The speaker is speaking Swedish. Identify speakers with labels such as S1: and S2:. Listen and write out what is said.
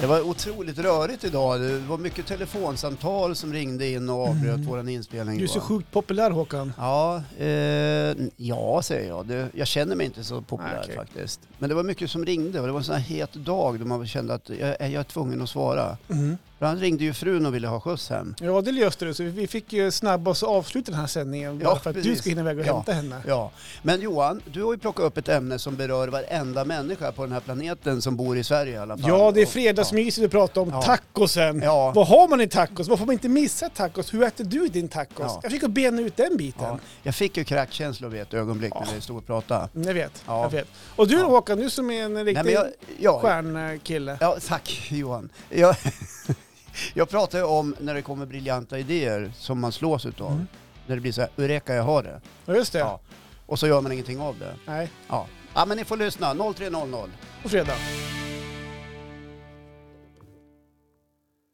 S1: Det var otroligt rörigt idag. Det var mycket telefonsamtal som ringde in och avbröt
S2: Mm.
S1: våran inspelning.
S2: Du är så
S1: va?
S2: sjukt populär Håkan.
S1: Ja, eh, ja säger jag. Det, jag känner mig inte så populär
S2: Nej, okej.
S1: faktiskt. Men det var mycket som ringde och det var en sån här het dag då man kände att jag, jag är tvungen att svara.
S2: Mm.
S1: För han ringde ju frun och ville ha skjuts hem.
S2: Ja, det löste du. Så vi fick ju snabba oss och avsluta den här sändningen bara
S1: Ja,
S2: för att du
S1: precis.
S2: ska hinna iväg och
S1: Ja.
S2: hämta henne.
S1: Ja, men Johan, du har ju plockat upp ett ämne som berör varenda människa på den här planeten som bor i Sverige i alla fall.
S2: Ja, det är
S1: Och-
S2: fredagsmyset vi pratar om.
S1: Ja.
S2: Tacosen.
S1: Ja.
S2: Vad har man i tacos? Vad får man inte missa i tacos? Hur äter du din tacos?
S1: Ja.
S2: Jag fick att bena ut den biten.
S1: Ja, jag fick ju kräkkänslor vid ett ögonblick när vi stod och pratade.
S2: Mm, Jag vet,
S1: Ja.
S2: jag vet. Och du
S1: Ja.
S2: Håkan, du som är en
S1: Nej,
S2: riktig
S1: men jag, ja,
S2: stjärnkille.
S1: ja, tack Johan. Jag, jag pratar ju om när det kommer briljanta idéer som man slås utav.
S2: Mm.
S1: När det blir så här, Eureka jag har det.
S2: Ja, just det.
S1: Ja. Och så gör man ingenting av det.
S2: Nej,
S1: Ja, ja men ni får lyssna, 0300.
S2: på fredag.